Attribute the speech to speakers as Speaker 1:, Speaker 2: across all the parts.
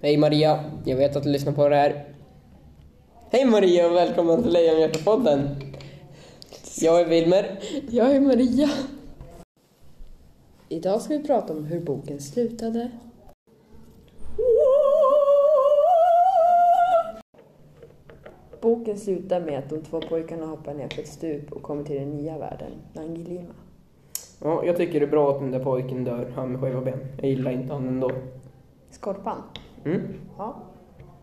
Speaker 1: Hej Maria, jag vet att du lyssnar på det här. Hej Maria och välkommen till Lejonhjärtapodden. Jag är Wilmer.
Speaker 2: Jag är Maria. Idag ska vi prata om hur boken slutade. Boken slutar med att de två pojkarna hoppar ner för ett stup och kommer till den nya världen, Nangilima.
Speaker 1: Ja, jag tycker det är bra att den där pojken dör, han med skeva ben. Jag gillar inte han ändå.
Speaker 2: Skorpan?
Speaker 1: Mm.
Speaker 2: Ja.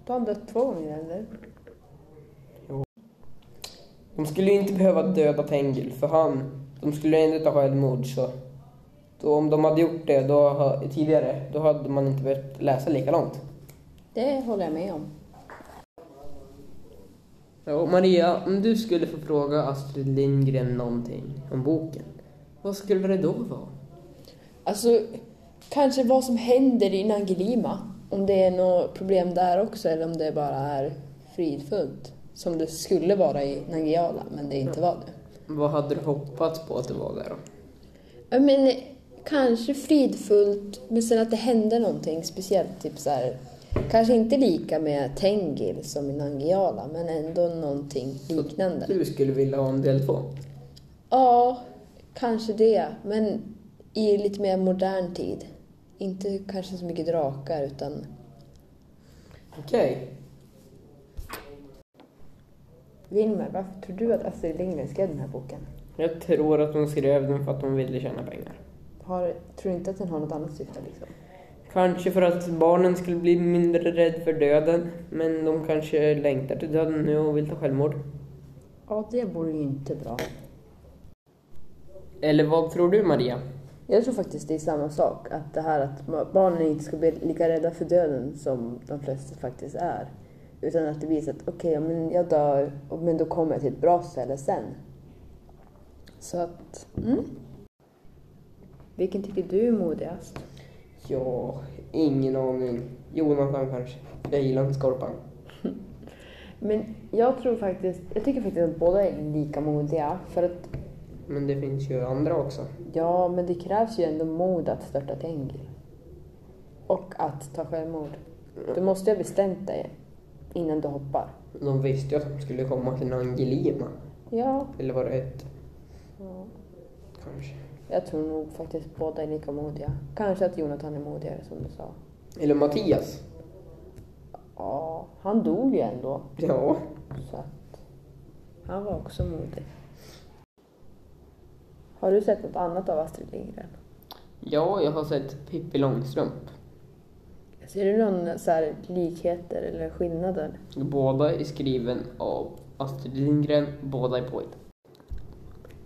Speaker 2: Då har han dött två gånger eller?
Speaker 1: De skulle ju inte behöva döda Tengil, för han... De skulle ju ändå ta självmord, så... Då, om de hade gjort det då, ha- tidigare, då hade man inte behövt läsa lika långt.
Speaker 2: Det håller jag med om.
Speaker 1: Ja, Maria, om du skulle få fråga Astrid Lindgren någonting om boken, vad skulle det då vara?
Speaker 2: Alltså, kanske vad som händer i Nangilima. Om det är något problem där också eller om det bara är fridfullt. Som det skulle vara i Nangiala, men det inte var det.
Speaker 1: Vad hade du hoppats på att det var där då?
Speaker 2: Ja, men kanske fridfullt, men sen att det hände någonting speciellt. Typ så här, kanske inte lika med Tengil som i Nangiala, men ändå någonting liknande.
Speaker 1: Du skulle vilja ha en del två?
Speaker 2: Ja, kanske det, men i lite mer modern tid. Inte kanske så mycket drakar, utan
Speaker 1: Okej.
Speaker 2: Wilmer, varför tror du att Astrid Lindgren skrev den här boken?
Speaker 1: Jag tror att hon skrev den för att hon ville tjäna pengar.
Speaker 2: Har, tror du inte att den har något annat syfte? Liksom?
Speaker 1: Kanske för att barnen skulle bli mindre rädda för döden, men de kanske längtar till döden nu och vill ta självmord.
Speaker 2: Ja, det vore ju inte bra.
Speaker 1: Eller vad tror du, Maria?
Speaker 2: Jag tror faktiskt det är samma sak, att det här att ma- barnen inte ska bli lika rädda för döden som de flesta faktiskt är. Utan att det visar att okej, ja, men jag dör, och- men då kommer jag till ett bra ställe sen. Så att, mm. Vilken tycker du är modigast?
Speaker 1: Ja, ingen aning. Jonathan kanske. Jag gillar inte Skorpan.
Speaker 2: Men jag tror faktiskt, jag tycker faktiskt att båda är lika modiga. För att,
Speaker 1: Men det finns ju andra också.
Speaker 2: ja, men det krävs ju ändå mod att störta ett ängel. Och att ta självmord. Du måste ju ha bestämt dig innan du hoppar.
Speaker 1: De visste ju att de skulle komma till Angelima.
Speaker 2: Ja,
Speaker 1: Eller var det ett? Kanske.
Speaker 2: jag tror nog faktiskt båda är lika modiga. Kanske att Jonathan är modigare som du sa.
Speaker 1: Eller Mattias.
Speaker 2: Ja, han dog ju ändå.
Speaker 1: Ja.
Speaker 2: Så att han var också modig. Har du sett något annat av Astrid Lindgren?
Speaker 1: Ja, jag har sett Pippi Långstrump.
Speaker 2: Ser du någon så här likheter eller skillnader?
Speaker 1: Båda är skriven av Astrid Lindgren, båda är poet.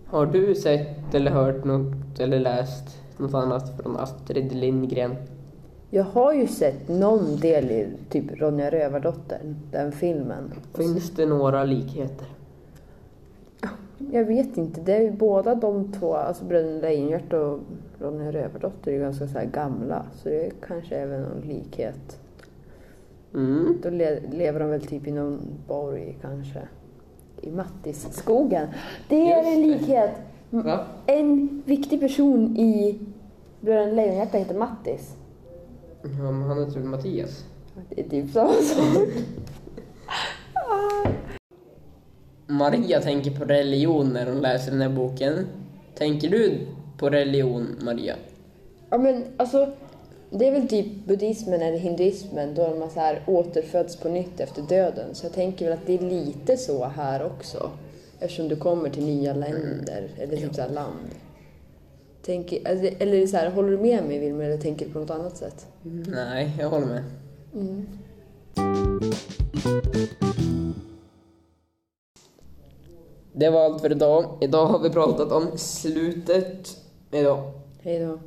Speaker 1: Har du sett eller hört något eller läst något annat från Astrid Lindgren?
Speaker 2: Jag har ju sett någon del i typ Ronja Rövardotter, den filmen.
Speaker 1: Finns det några likheter?
Speaker 2: Jag vet inte, det är ju båda de två, alltså Bröderna Lejonhjärta och Ronja Rövardotter är ju ganska så här gamla. Så det är kanske även någon likhet.
Speaker 1: Mm.
Speaker 2: Då le- lever de väl typ i någon borg kanske. I Mattisskogen. Det är en
Speaker 1: Just det.
Speaker 2: likhet!
Speaker 1: Va?
Speaker 2: En viktig person i Bröderna Lejonhjärta heter Mattis.
Speaker 1: Ja, men han heter väl Mattias?
Speaker 2: Det är typ samma sak.
Speaker 1: Maria tänker på religion när hon läser den här boken. Tänker du på religion, Maria?
Speaker 2: Ja men alltså, det är väl typ buddhismen eller hinduismen då man så här återföds på nytt efter döden. Så jag tänker väl att det är lite så här också. Eftersom du kommer till nya länder, eller typ så här land. Tänker, alltså, eller så här, håller du med mig Wilmer eller tänker du på något annat sätt?
Speaker 1: Mm. Nej, jag håller med. Det var allt för idag. Idag har vi pratat om slutet. Idag.
Speaker 2: Hej då.